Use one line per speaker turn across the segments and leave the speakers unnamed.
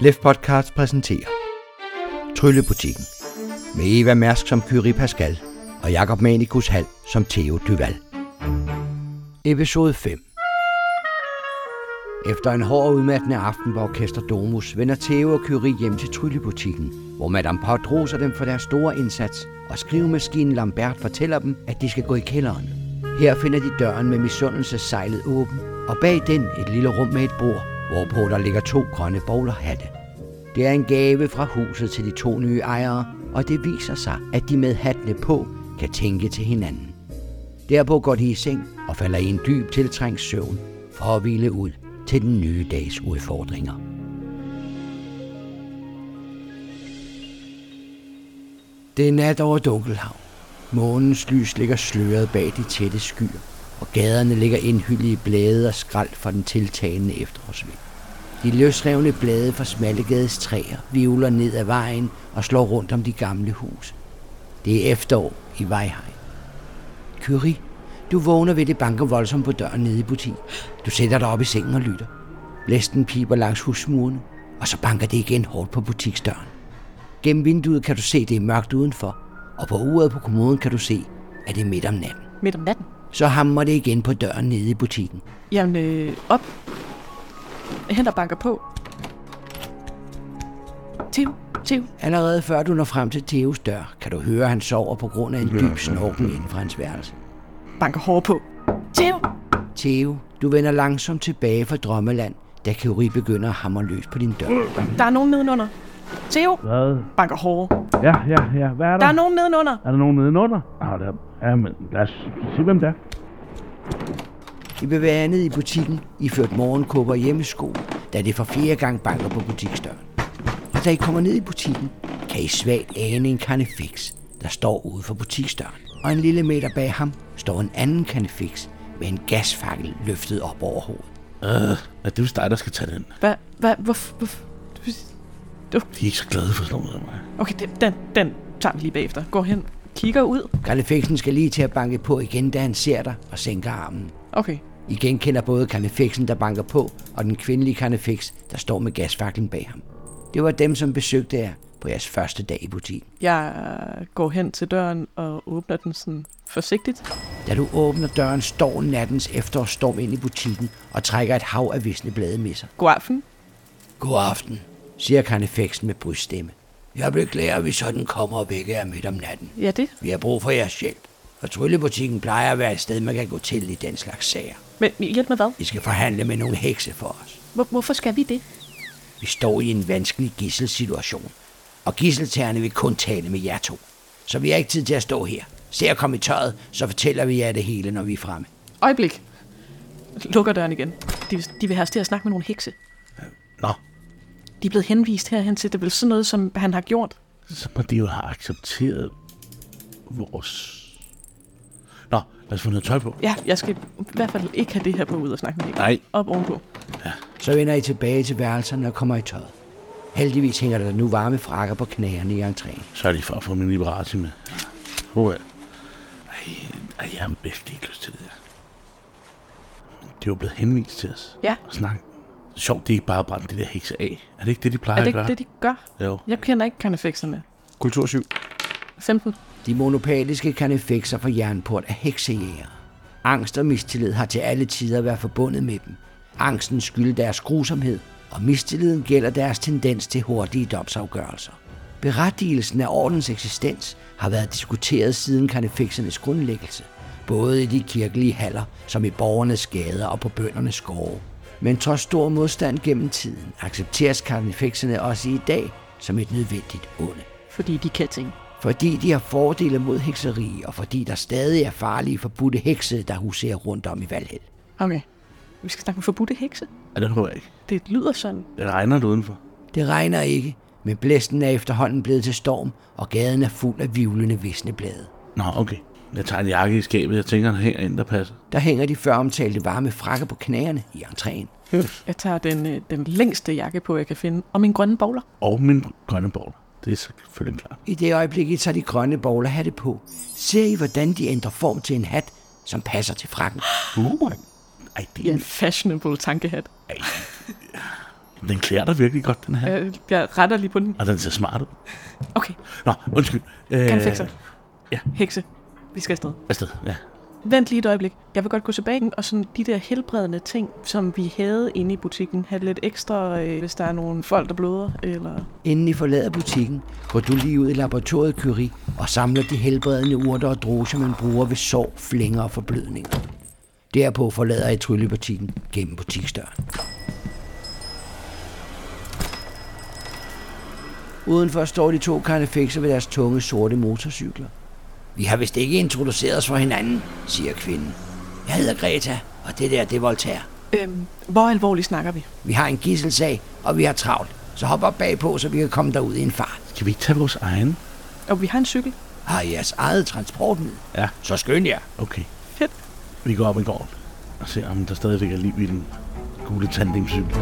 Lef Podcast præsenterer Tryllebutikken med Eva Mærsk som Kyrie Pascal og Jakob Manikus Hal som Theo Duval. Episode 5 Efter en hård og udmattende aften på Orkester Domus vender Theo og Kyrie hjem til Tryllebutikken, hvor Madame Pot roser dem for deres store indsats, og skrivemaskinen Lambert fortæller dem, at de skal gå i kælderen. Her finder de døren med misundelse sejlet åben, og bag den et lille rum med et bord, hvorpå der ligger to grønne bowlerhatte. Det er en gave fra huset til de to nye ejere, og det viser sig, at de med hattene på kan tænke til hinanden. Derpå går de i seng og falder i en dyb tiltrængt søvn for at hvile ud til den nye dags udfordringer. Det er nat over Dunkelhavn. Månens lys ligger sløret bag de tætte skyer, og gaderne ligger indhyllet i blade og skrald fra den tiltagende efterårsvind. De løsrevne blade fra Smallegades træer vivler ned ad vejen og slår rundt om de gamle huse. Det er efterår i Vejhegn. Kyrie, du vågner ved det banker voldsomt på døren nede i butikken. Du sætter dig op i sengen og lytter. Blæsten piber langs husmurene, og så banker det igen hårdt på butiksdøren. Gennem vinduet kan du se, det er mørkt udenfor, og på uret på kommoden kan du se, at det er midt om natten.
Midt om natten.
Så hammer det igen på døren nede i butikken.
Jamen, øh, op. Hen og banker på. Theo, Theo.
Allerede før du når frem til Theos dør, kan du høre, at han sover på grund af en dyb snorken inden for hans værelse.
Banker hårdt på. Theo!
Theo, du vender langsomt tilbage fra drømmeland, da Kyrie begynder at hamre løs på din dør.
Der er nogen nedenunder. Theo!
Hvad?
Banker hårdt.
Ja, ja, ja. Hvad er der?
Der er nogen nedenunder.
er der nogen nedenunder? Ah, der er... men lad os se, hvem der er.
I bevæger jer ned i butikken, I ført morgenkåber og hjemmesko, da det for flere gange banker på butiksdøren. Og da I kommer ned i butikken, kan I svagt ane en karnefix, der står ude for butiksdøren. Og en lille meter bag ham står en anden karnefix med en gasfakkel løftet op over hovedet.
Øh, er det vist dig, der skal tage den?
Hvad, hvad, hvor, hvor,
De er ikke så glade for sådan noget af mig.
Okay, den, den, den tager vi lige bagefter. Går hen, kigger ud.
Karnefixen skal lige til at banke på igen, da han ser dig og sænker armen.
Okay,
I genkender både karnefixen, der banker på, og den kvindelige karnefix, der står med gasfaklen bag ham. Det var dem, som besøgte jer på jeres første dag i butikken.
jeg går hen til døren og åbner den sådan forsigtigt.
Da du åbner døren, står nattens efterårsstorm ind i butikken og trækker et hav af visne blade med sig.
God aften.
God aften, siger karnefeksen med bryststemme. Jeg beklager, at vi sådan kommer og vækker jer midt om natten.
Ja, det.
Vi har brug for jeres hjælp. Og tryllebutikken plejer at være et sted, man kan gå til i den slags sager.
Men hjælp med hvad?
I skal forhandle med nogle hekse for os.
Hvor, hvorfor skal vi det?
Vi står i en vanskelig gisselsituation. Og gisseltagerne vil kun tale med jer to. Så vi har ikke tid til at stå her. Se at komme i tøjet, så fortæller vi jer det hele, når vi er fremme.
Øjeblik. Lukker døren igen. De, de vil have os til at snakke med nogle hekse.
Nå,
De er blevet henvist herhen til, det er vel sådan noget, som han har gjort.
så må de jo have accepteret vores... Nå, lad os få noget tøj på.
Ja, jeg skal i hvert fald ikke have det her på ud og snakke med hekse.
Nej.
Op ovenpå.
Så vender I tilbage til værelserne og kommer i tøjet. Heldigvis hænger der nu varme frakker på knæerne i entréen.
Så er de for at få min Liberati med. Hvor er Ej, ej, jeg har bedst ikke lyst til det der. Det er jo blevet henvist til os.
Ja.
Og snak. Sjovt, de ikke bare brændte det der hekse af. Er det ikke det, de plejer
Er det
at
ikke
gøre?
det, de gør?
Jo.
Jeg kender ikke karnefekserne.
Kultur 7.
15.
De monopatiske kanefekser fra jernport er heksejæger. Angst og mistillid har til alle tider været forbundet med dem. Angsten skylder deres grusomhed, og mistilliden gælder deres tendens til hurtige domsafgørelser. Berettigelsen af ordens eksistens har været diskuteret siden kanefeksernes grundlæggelse, både i de kirkelige haller, som i borgernes gader og på bøndernes skove. Men trods stor modstand gennem tiden, accepteres kanefekserne også i dag som et nødvendigt onde
Fordi de kan ting.
fordi de har fordele mod hekseri, og fordi der stadig er farlige forbudte hekse, der huserer rundt om i Valhall.
Okay. Vi skal snakke med forbudte hekse.
Ja, det tror jeg ikke.
Det lyder sådan.
Det regner det udenfor.
Det regner ikke, men blæsten er efterhånden blevet til storm, og gaden er fuld af vivlende visneblade.
Nå, okay. Jeg tager en jakke i skabet. Jeg tænker, den hænger ind, der passer.
Der hænger de før omtalte varme frakker på knæerne i entréen.
Jeg tager den, øh, den længste jakke på, jeg kan finde. Og min grønne bowler.
Og min grønne bowl. Det er selvfølgelig klart.
I det øjeblik, I tager de grønne bowlerhatte på, ser I, hvordan de ændrer form til en hat, som passer til frakken.
Uh, ej, det er
En fashionable tankehat.
ej. Den klæder dig virkelig godt, den her. Øh.
Jeg, jeg retter lige på den.
Og den ser smart ud.
Okay,
Nå, undskyld. Øh,
Konfekser.
ja.
hekse. Vi skal afsted.
Afsted, ja.
Vent lige et øjeblik. Jeg vil godt gå tilbage og sådan de der helbredende ting, som vi havde inde i butikken. Have lidt ekstra, øh, hvis der er nogle folk, der bløder. Eller...
Inden I forlader butikken, går du lige ud i laboratoriet, Curie, og samler de helbredende urter og droger, man bruger ved sår, flænger og forblødninger. Derpå forlader I tryllebutikken gennem butiksdøren. Udenfor står de to karnefekser ved deres tunge sorte motorcykler. Vi har vist ikke introduceret os for hinanden, siger kvinden. Jeg hedder Greta, og det der, det er Voltaire.
Øhm, hvor alvorligt snakker vi?
Vi har en gisselsag, og vi har travlt. Så hop op bagpå, så vi kan komme derud i en fart.
Skal vi ikke tage vores egen?
Og vi har en cykel.
Har I jeres eget transportmiddel?
Ja.
Så skynd jer.
Okay.
Fedt.
Vi går op i gården og ser, om der stadigvæk er liv i den gule tandemcykel.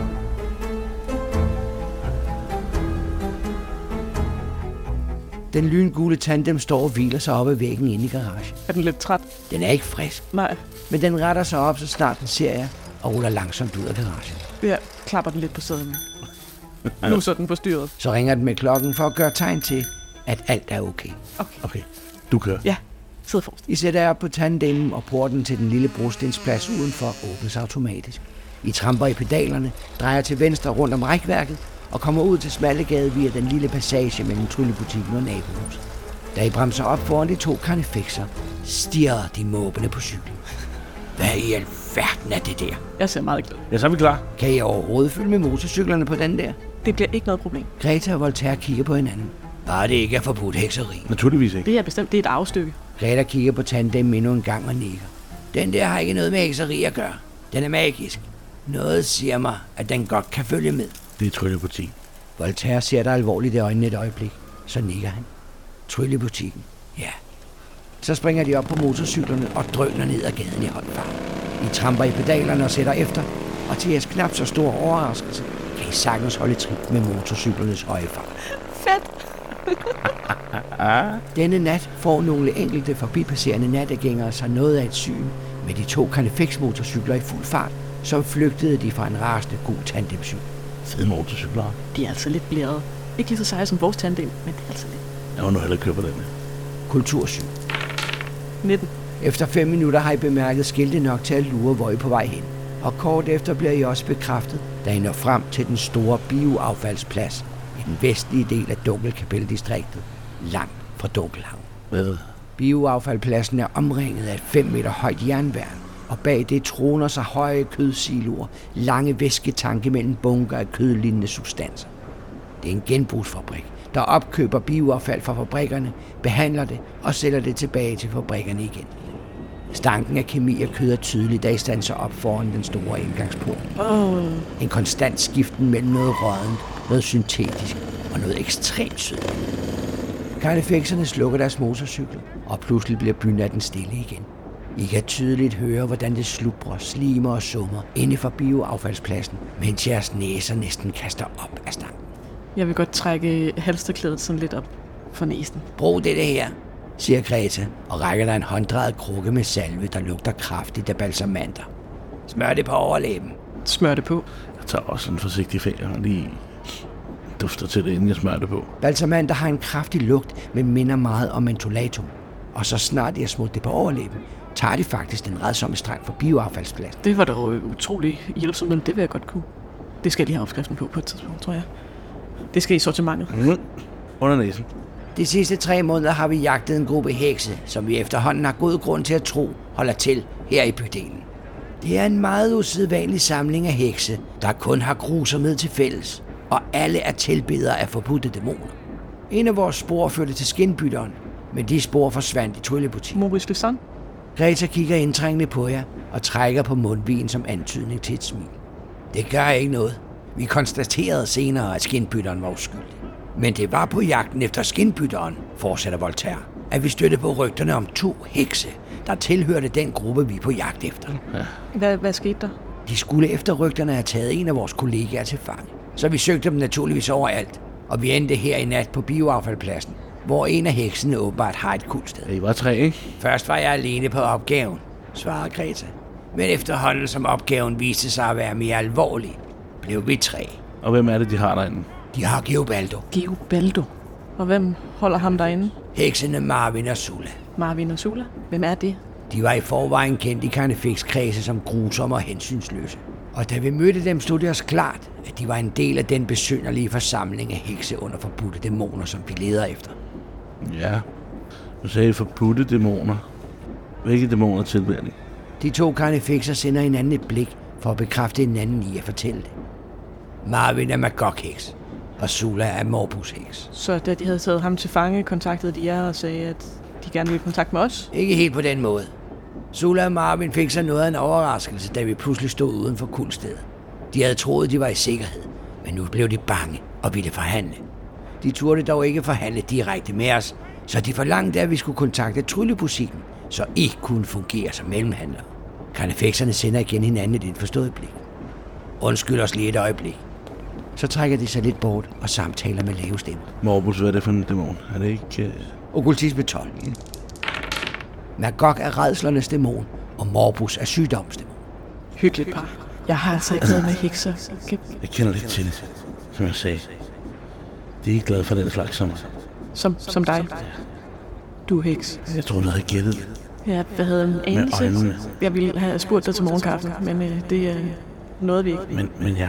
Den lyngule tandem står og hviler sig op ad væggen inde i garagen.
Er den lidt træt?
Den er ikke frisk,
Nej,
men den retter sig op, så snart den ser jer, og ruller langsomt ud af garagen.
jeg klapper den lidt på sæden. nu så den forstyrret.
Så ringer den med klokken for at gøre tegn til, at alt er okay.
Okay.
Okay, du kører.
Ja, sid forrest.
I sætter jer på tandemen, og porten til den lille brostensplads udenfor åbnes automatisk. I tramper i pedalerne, drejer til venstre rundt om rækværket, og kommer ud til Smallegade via den lille passage mellem tryllebutikken og nabohuset. Da I bremser op foran de to karnefekser, stiger de måbende på cyklen. Hvad i alverden er det der?
Jeg ser meget glad.
Ja, så er vi klar.
Kan I overhovedet følge med motorcyklerne på den der?
Det bliver ikke noget problem.
Greta og Voltaire kigger på hinanden. Bare det ikke er forbudt hekseri.
Naturligvis ikke.
Det er bestemt det er et arvestykke.
Greta kigger på tandem endnu en gang og nikker. Den der har ikke noget med hekseri at gøre. Den er magisk. Noget siger mig, at den godt kan følge med.
Det er tryllebutikken.
Voltaire ser dig alvorligt i øjnene et øjeblik. Så nikker han. Tryllebutikken. Ja. Så springer de op på motorcyklerne og drøner ned ad gaden i håndfart. I tramper i pedalerne og sætter efter, og til jeres knap så stor overraskelse, kan I sagtens holde trit med motorcyklernes høje fart.
Fedt.
Denne nat får nogle enkelte forbipasserende nattegængere sig noget af et syn med de to Carnifex-motorcykler i fuld fart, som flygtede de fra en rasende god tandemcykel.
Fede motorcykler.
De er altså lidt blærede. Ikke lige så seje som vores tandem, men det er altså lidt.
Jeg må nu hellere køre på den her.
Kultursyn.
19.
Efter fem minutter har I bemærket skilte nok til at lure, hvor I er på vej hen. Og kort efter bliver I også bekræftet, da I når frem til den store bioaffaldsplads i den vestlige del af Dunkelkapeldistriktet, langt fra Dunkelhavn.
Hvad?
Bioaffaldpladsen er omringet af et 5 meter højt jernværn, og bag det troner sig høje kødsiloer, lange væsketanke mellem bunker af kødlignende substanser. Det er en genbrugsfabrik, der opkøber bioaffald fra fabrikkerne, behandler det og sælger det tilbage til fabrikkerne igen. Stanken af kemi og kød er tydelig, da I standser op foran den store indgangsport.
Åh,
En konstant skiften mellem noget rådent, noget syntetisk og noget ekstremt sødt. Karnefekserne slukker deres motorcykler, og pludselig bliver bynatten stille igen. I kan tydeligt høre, hvordan det slubrer, slimer og summer inde for bioaffaldspladsen, mens jeres næser næsten kaster op af stangen.
jeg vil godt trække halsterklædet sådan lidt op for næsen.
Brug det her, siger Greta, og rækker dig en hånddrejet krukke med salve, der lugter kraftigt af balsamanter. Smør det på overlæben.
Smør det på.
Jeg tager også en forsigtig finger og lige dufter til det, inden jeg smører det på.
Balsamander har en kraftig lugt, men minder meget om mentolatum. Og så snart jeg smutter det på overlæben, tager de faktisk den redsomme streng for bioaffaldspladsen.
Det var da jo utrolig hjælpsomt, men det vil jeg godt kunne. Det skal jeg lige have opskriften på på et tidspunkt, tror jeg. Det skal i sortimentet.
Mm. Under næsen.
De sidste tre måneder har vi jagtet en gruppe hekse, som vi efterhånden har god grund til at tro holder til her i bydelen. Det er en meget usædvanlig samling af hekse, der kun har grusomhed til fælles, og alle er tilbedere af forbudte dæmoner. En af vores spor førte til skinbytteren, men de spor forsvandt i tryllebutikken.
Maurice Lusson?
Greta kigger indtrængende på jer og trækker på mundvigen som antydning til et smil. Det gør ikke noget. Vi konstaterede senere, at skinbytteren var uskyldig. Men det var på jagten efter skinbytteren, fortsætter Voltaire, at vi støttede på rygterne om to hekse, der tilhørte den gruppe, vi er på jagt efter.
Hvad, hvad skete der?
De skulle efter rygterne have taget en af vores kollegaer til fange. Så vi søgte dem naturligvis overalt, og vi endte her i nat på bioaffaldspladsen, hvor en af heksene åbenbart har et kulsted.
Ja, I var tre, ikke?
Først var jeg alene på opgaven, svarede Greta. Men efterhånden som opgaven viste sig at være mere alvorlig, blev vi tre.
Og hvem er det, de har derinde?
De har Geobaldo,
Geo Baldo. Og hvem holder ham derinde?
heksene Marvin og Sulla.
Marvin og Sula. Hvem er det?
De var i forvejen kendt i Carnifex-kredse som grusomme og hensynsløse. Og da vi mødte dem, stod det os klart, at de var en del af den besynderlige forsamling af hekse under forbudte dæmoner, som vi leder efter.
Ja. Du sagde forbudte dæmoner. Hvilke dæmoner tilbærer de?
De to Carnifexer sender hinanden et blik for at bekræfte hinanden i at fortælle det. Marvin er Magog-heks, og Sula er Morbus-heks.
Så da de havde taget ham til fange, kontaktede de jer og sagde, at de gerne ville kontakte med os.
Ikke helt på den måde. Sula og Marvin fik sig noget af en overraskelse, da vi pludselig stod uden for kuldstedet. De havde troet, de var i sikkerhed, men nu blev de bange og ville forhandle. De turde dog ikke forhandle direkte med os, så de forlangte, at vi skulle kontakte Tryllebutikken, så I kunne fungere som mellemhandler. Karnefekserne sender igen hinanden et indforstået blik. Undskyld os lige et øjeblik. Så trækker de sig lidt bort og samtaler med lave stemmer.
Morbus, hvad er det for en dæmon? Er det ikke... øh,
Okkultisme 12. Magog er redslernes dæmon, og Morbus er sygdomsdæmon.
Hyggeligt par. Jeg har altså ikke noget med hekser. Kan-
Jeg kender lidt til det, som jeg sagde. De er ikke glade for den slags som...
Som, som dig. Du er heks.
Jeg tror, du havde gættet det.
Jeg havde en anelse.
øjnene.
Jeg ville have spurgt dig til morgenkaffen, men øh, det er noget, vi ikke.
Men, men jeg...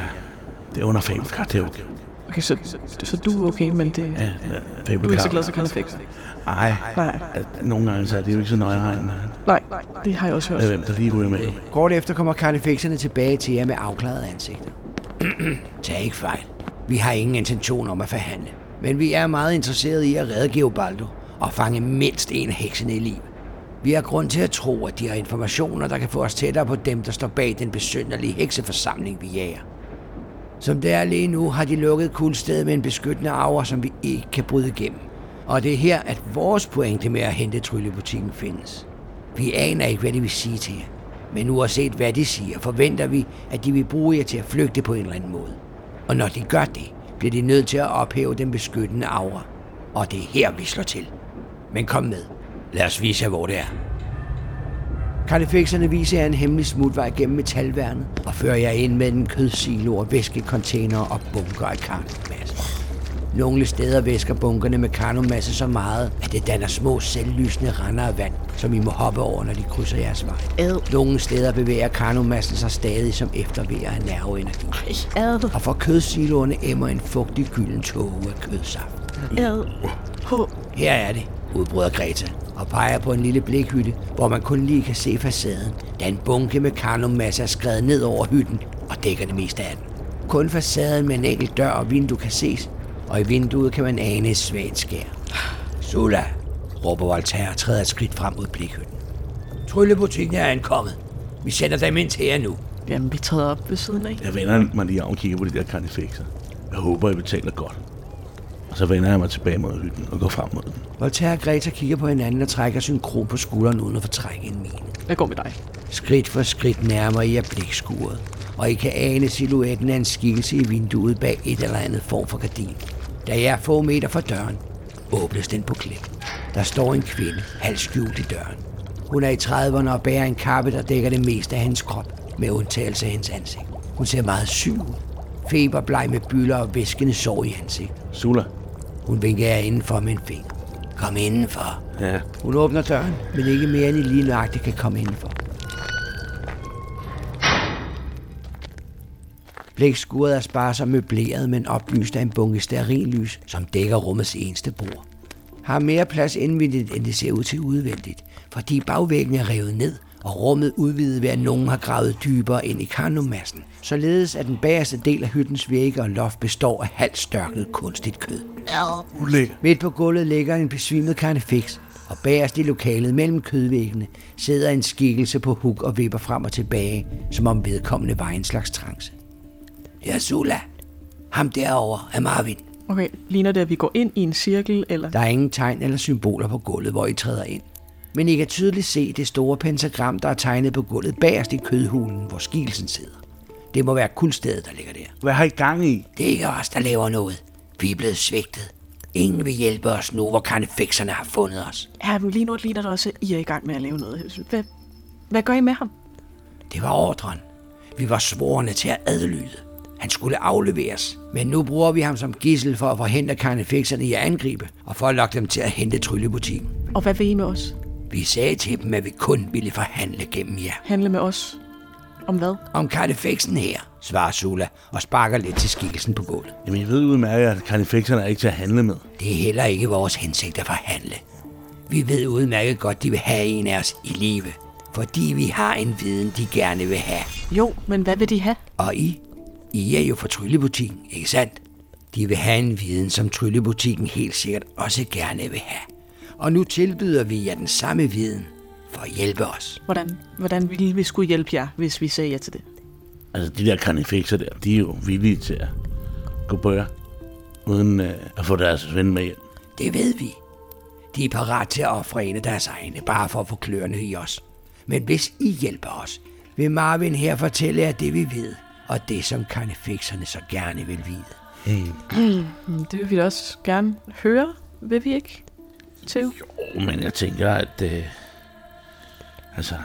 Det er under Fabelkar, det er okay.
Okay, så, så du er okay, men det,
Ja, ja, Fabelkar.
du er ikke så glad for konfekt.
Nej.
Nej.
Nogle gange så er det jo ikke så nøjeregnende.
Nej, det har jeg også hørt.
Af hvem der lige ryger med.
Kort efter kommer karnefekserne tilbage til jer med afklarede ansigter. Tag ikke fejl. Vi har ingen intention om at forhandle. Men vi er meget interesserede i at redde Geobaldo og fange mindst en af heksene i live. Vi har grund til at tro, at de har informationer, der kan få os tættere på dem, der står bag den besynderlige hekseforsamling, vi jager. Som det er lige nu, har de lukket kuldstedet med en beskyttende arver, som vi ikke kan bryde igennem. Og det er her, at vores pointe med at hente tryllebutikken findes. Vi aner ikke, hvad de vil sige til jer. Men uanset hvad de siger, forventer vi, at de vil bruge jer til at flygte på en eller anden måde. Og når de gør det, bliver de nødt til at ophæve den beskyttende aura. Og det er her, vi slår til. Men kom med. Lad os vise jer, hvor det er. Kartefixerne viser jer en hemmelig smutvej gennem metalværnet og fører jer ind mellem kødsiloer, væskecontainer og bunker af karnomasser. Nogle steder væsker bunkerne med karnomasse så meget, at det danner små selvlysende render af vand, som I må hoppe over, når de krydser jeres vej. Nogle steder bevæger karnomassen sig stadig som eftervejer af nerveenergi.
Ad,
Og fra kødsiloerne emmer en fugtig gylden tåge af kødsaft.
ad, på.
Her er det, udbryder Greta og peger på en lille blikhytte, hvor man kun lige kan se facaden, da en bunke med karnummasser er skrevet ned over hytten og dækker det meste af den. Kun facaden med en enkelt dør og vindue kan ses, og i vinduet kan man ane et svagt skær. Sula, råber Voltaire og træder et skridt frem mod blikhytten. Tryllebutikken er ankommet. Vi sender dem ind til jer nu.
Jamen, vi træder op ved siden af.
Jeg vender mig lige om og kigger på de der karnifekser. Jeg håber, I betaler godt. Og så vender jeg mig tilbage mod hytten og går frem mod den.
Voltaire og Greta kigger på hinanden og trækker synkron på skulderen uden at fortrække en mine.
Jeg går med dig.
Skridt for skridt nærmer I jer blikskuret, og I kan ane silhuetten af en skikkelse i vinduet bag et eller andet form for gardin. Da jeg er få meter fra døren, åbnes den på klip. Der står en kvinde, halvt skjult i døren. Hun er i 30'erne og bærer en kappe, der dækker det meste af hendes krop, med undtagelse af hendes ansigt. Hun ser meget syg ud. Feberbleg med bylder og væskende sår i ansigtet.
Sula?
Hun vinker jer indenfor med en finger. Kom indenfor.
Ja.
Hun åbner døren, men ikke mere end I lige nøjagtigt kan komme indenfor. Blækskuret er sparsomt møbleret, men oplyst af en bunke stearinlys, som dækker rummets eneste bord. Har mere plads indvendigt, end det ser ud til udvendigt, fordi bagvæggen er revet ned, og rummet udvidet ved, at nogen har gravet dybere ind i karnumassen, således at den bagerste del af hyttens vægge og loft består af halvt størknet kunstigt kød.
Ulækker.
Midt på gulvet ligger en besvimet karnefix, og bagerst i lokalet mellem kødvæggene sidder en skikkelse på huk og vipper frem og tilbage, som om vedkommende var i en slags trance. Det er Sula. Ham derovre er Marvin.
Okay, ligner det, at vi går ind i en cirkel, eller?
Der er ingen tegn eller symboler på gulvet, hvor I træder ind. Men I kan tydeligt se det store pentagram, der er tegnet på gulvet bagerst i kødhulen, hvor skikkelsen sidder. Det må være kuldstedet, der ligger der.
Hvad har I gang i?
Det er ikke os, der laver noget. Vi er blevet svigtet. Ingen vil hjælpe os nu, hvor karnefixerne har fundet os.
Ja, men lige nu ligner det også, at I er i gang med at lave noget. Hvad, hvad gør I med ham?
Det var ordren. Vi var svorene til at adlyde. Han skulle afleveres, men nu bruger vi ham som gissel for at forhindre karnefikserne i at angribe, og for at lokke dem til at hente tryllebutikken.
Og hvad vil I med os?
Vi sagde til dem, at vi kun ville forhandle gennem jer.
Handle med os? Om hvad?
Om karnefiksen her, svarer Sula og sparker lidt til skikkelsen på gulvet.
Jamen, jeg ved udmærket, at karnefekterne er ikke til at handle med.
Det er heller ikke vores hensigt at forhandle. Vi ved udmærket godt, de vil have en af os i live, fordi vi har en viden, de gerne vil have.
Jo, men hvad vil de have?
Og I? I er jo fra Tryllebutikken, ikke sandt? De vil have en viden, som Tryllebutikken helt sikkert også gerne vil have. Og nu tilbyder vi jer den samme viden for at hjælpe os.
Hvordan, hvordan ville vi skulle hjælpe jer, hvis vi sagde ja til det?
Altså, de der karnefekser der, de er jo villige til at gå på jer, uden øh, at få deres ven med hjem.
Det ved vi. De er parat til at ofre en af deres egne, bare for at få kløerne i os. Men hvis I hjælper os, vil Marvin her fortælle jer det, vi ved, og det, som karnefikserne så gerne vil vide.
Mm, Det vil vi da også gerne høre, vil vi ikke? Til.
Jo, Oh, men jeg tænker, at... Øh, altså...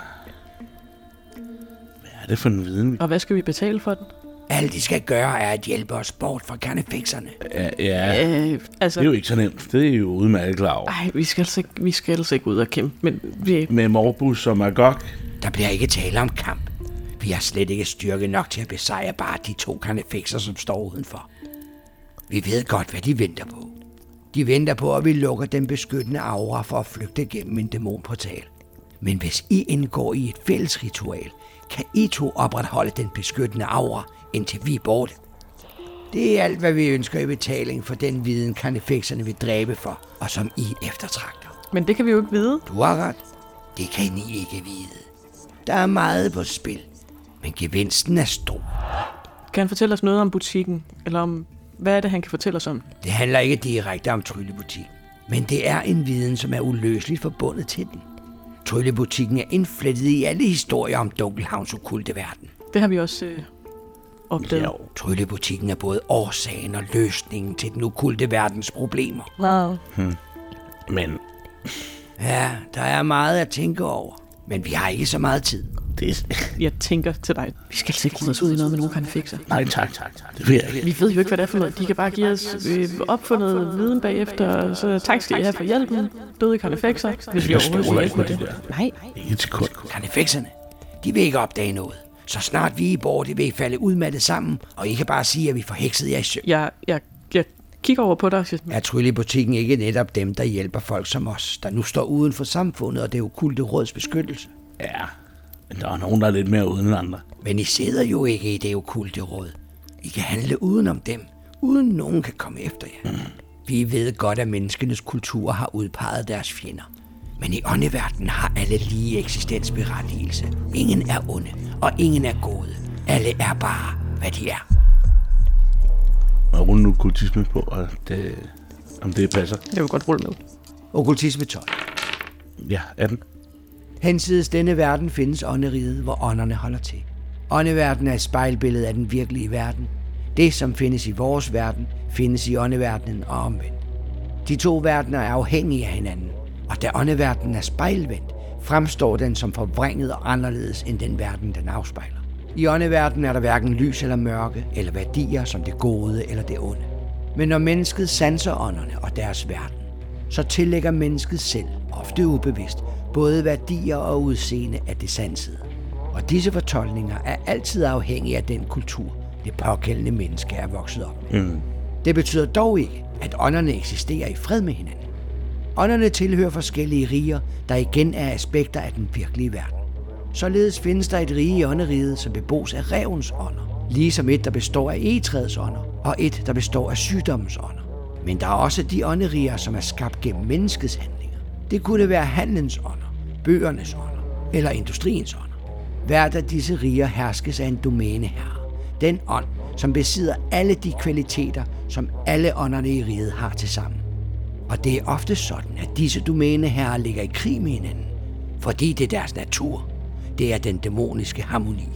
Hvad er det for en viden, vi...
Og hvad skal vi betale for den?
Alt de skal gøre er at hjælpe os bort fra karnefikserne.
Ja, ja,
Øh, altså,
det er jo ikke så nemt. Det er jo udmærket klar over.
ej, vi skal, altså ikke, vi skal altså ikke ud og kæmpe, men vi,
Med Morbus som er gok.
Der bliver ikke tale om kamp. Vi har slet ikke styrke nok til at besejre bare de to karnefikser, som står udenfor. Vi ved godt, hvad de venter på. De venter på, at vi lukker den beskyttende aura for at flygte gennem en dæmonportal. Men hvis I indgår i et fælles ritual, kan I to opretholde den beskyttende aura, indtil vi er borte. Det er alt, hvad vi ønsker i betaling for den viden, karnefikserne vil dræbe for, og som I eftertragter.
men det kan vi jo ikke vide.
Du har ret. Det kan I ikke vide. Der er meget på spil, men gevinsten er stor.
Kan han fortælle os noget om butikken? Eller om, hvad er det, han kan fortælle os om?
Det handler ikke direkte om tryllebutikken, men det er en viden, som er uløseligt forbundet til den. Tryllebutikken er indflettet i alle historier om Dunkelhavns okulte verden.
Det har vi også øh, opdaget.
Ja,
Tryllebutikken er både årsagen og løsningen til den okulte verdens problemer.
Wow.
men
Ja, der er meget at tænke over, men vi har ikke så meget tid.
det er...
Jeg tænker til dig. Vi skal altså ikke ride os ud i noget med nogen kan fikse.
Nej, tak, tak, tak. Det vil jeg ikke.
Vi ved jo ikke, hvad det er for noget. De kan bare give os øh, opfundet viden bagefter, og så tak skal I have for hjælpen. Døde kan fikser, hvis vi
Jeg
overhovedet skal
stoler
hjælpe
ikke på
med
det
det.
der.
Nej,
Ikke et sekund.
Karnefikserne, de vil ikke opdage noget. Så snart vi er borte, vil I falde udmattet sammen, og I kan bare sige, at vi forheksede jer i søvn.
jeg, jeg, jeg kigger over på dig og siger,
Er tryllebutikken ikke netop dem, der hjælper folk som os, der nu står uden for samfundet og det okulte råds beskyttelse?
Ja, men der er nogen, der er lidt mere uden end andre.
Men I sidder jo ikke i det okulte råd. I kan handle uden om dem, uden nogen kan komme efter jer. Vi ved godt, at menneskenes kultur har udpeget deres fjender. Men i åndeverdenen har alle lige eksistensberettigelse. Ingen er onde, og ingen er gode. Alle er bare, hvad de er.
Og rulle nu kultisme på, og det, om det passer.
jeg vil godt rulle med.
Okkultisme 12.
Ja, 18.
Hensides denne verden findes ånderiget, hvor ånderne holder til. Åndeverdenen er et spejlbillede af den virkelige verden. Det, som findes i vores verden, findes i åndeverdenen og omvendt. De to verdener er afhængige af hinanden, og da åndeverdenen er spejlvendt, fremstår den som forvrænget og anderledes end den verden, den afspejler. I åndeverdenen er der hverken lys eller mørke, eller værdier som det gode eller det onde. Men når mennesket sanser ånderne og deres verden, så tillægger mennesket selv, ofte ubevidst, både værdier og udseende af det sansede. Og disse fortolkninger er altid afhængige af den kultur, det pågældende menneske er vokset op med. Mm. Det betyder dog ikke, at ånderne eksisterer i fred med hinanden. Ånderne tilhører forskellige riger, der igen er aspekter af den virkelige verden. Således findes der et rige i ånderiget, som bebos af revens ånder, ligesom et, der består af egetræets ånder, og et, der består af sygdommens ånder. Men der er også de ånderiger, som er skabt gennem menneskets handlinger. Det kunne være handlens ånder, bøgernes ånder eller industriens ånder. Hvert af disse riger herskes af en domæneherre. Den ånd, som besidder alle de kvaliteter, som alle ånderne i riget har til sammen. Og det er ofte sådan, at disse domæneherrer ligger i krig med hinanden, fordi det er deres natur. Det er den dæmoniske harmoni.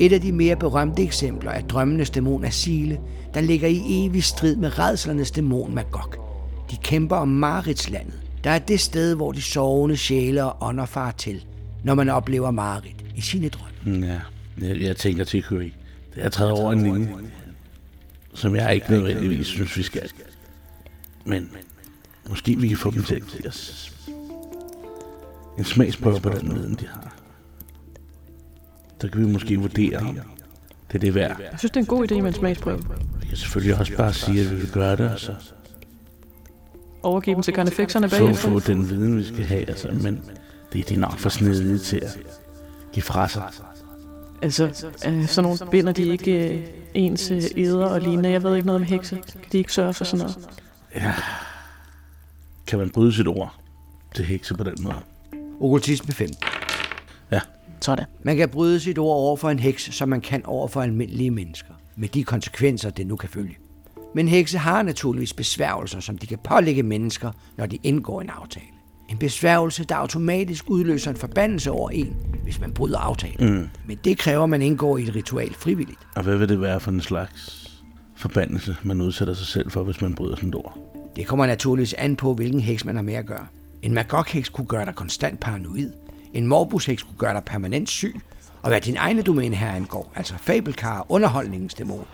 Et af de mere berømte eksempler er drømmenes dæmon Asile, der ligger i evig strid med redslernes dæmon Magog. De kæmper om Maritslandet, der er det sted, hvor de sovende sjæle og ånder
Mm,
farer til, når man oplever Marit i sine drømme.
Ja, jeg, jeg tænker til Curie. Det har taget over en linje, som jeg ikke nødvendigvis synes, vi skal. Men måske vi kan få dem til at give os en smagsprøve på den viden, de har. Så kan vi måske vurdere, om det er det værd.
Jeg synes, det er en god idé med en smagsprøve.
Jeg kan selvfølgelig også bare sige, at vi vil gøre det, og så
Overgive dem til karnefekserne
få,
bagefter.
få den viden, vi skal have. Altså. Men det, det er nok for snedige til at give fra sig.
Altså, øh, sådan nogle binder de ikke øh, ens øh, æder og lignende. Jeg ved ikke noget om hekse. Kan de ikke sørge for sådan noget?
Kan man bryde sit ord til hekse på den måde?
Okkultisme 5.
Sådan.
Man kan bryde sit ord over for en heks, som man kan over for almindelige mennesker, med de konsekvenser, det nu kan følge. Men hekse har naturligvis besværgelser, som de kan pålægge mennesker, når de indgår en aftale. En besværgelse, der automatisk udløser en forbandelse over en, hvis man bryder aftalen. Mm. Men det kræver, at man indgår i et ritual frivilligt.
Og hvad vil det være for en slags forbandelse, man udsætter sig selv for, hvis man bryder sådan et ord?
Det kommer naturligvis an på, hvilken heks man har med at gøre. En magokheks kunne gøre dig konstant paranoid. En morbusheks kunne gøre dig permanent syg. Og hvad din egne domæne her angår, altså fabelkar underholdningens dæmon,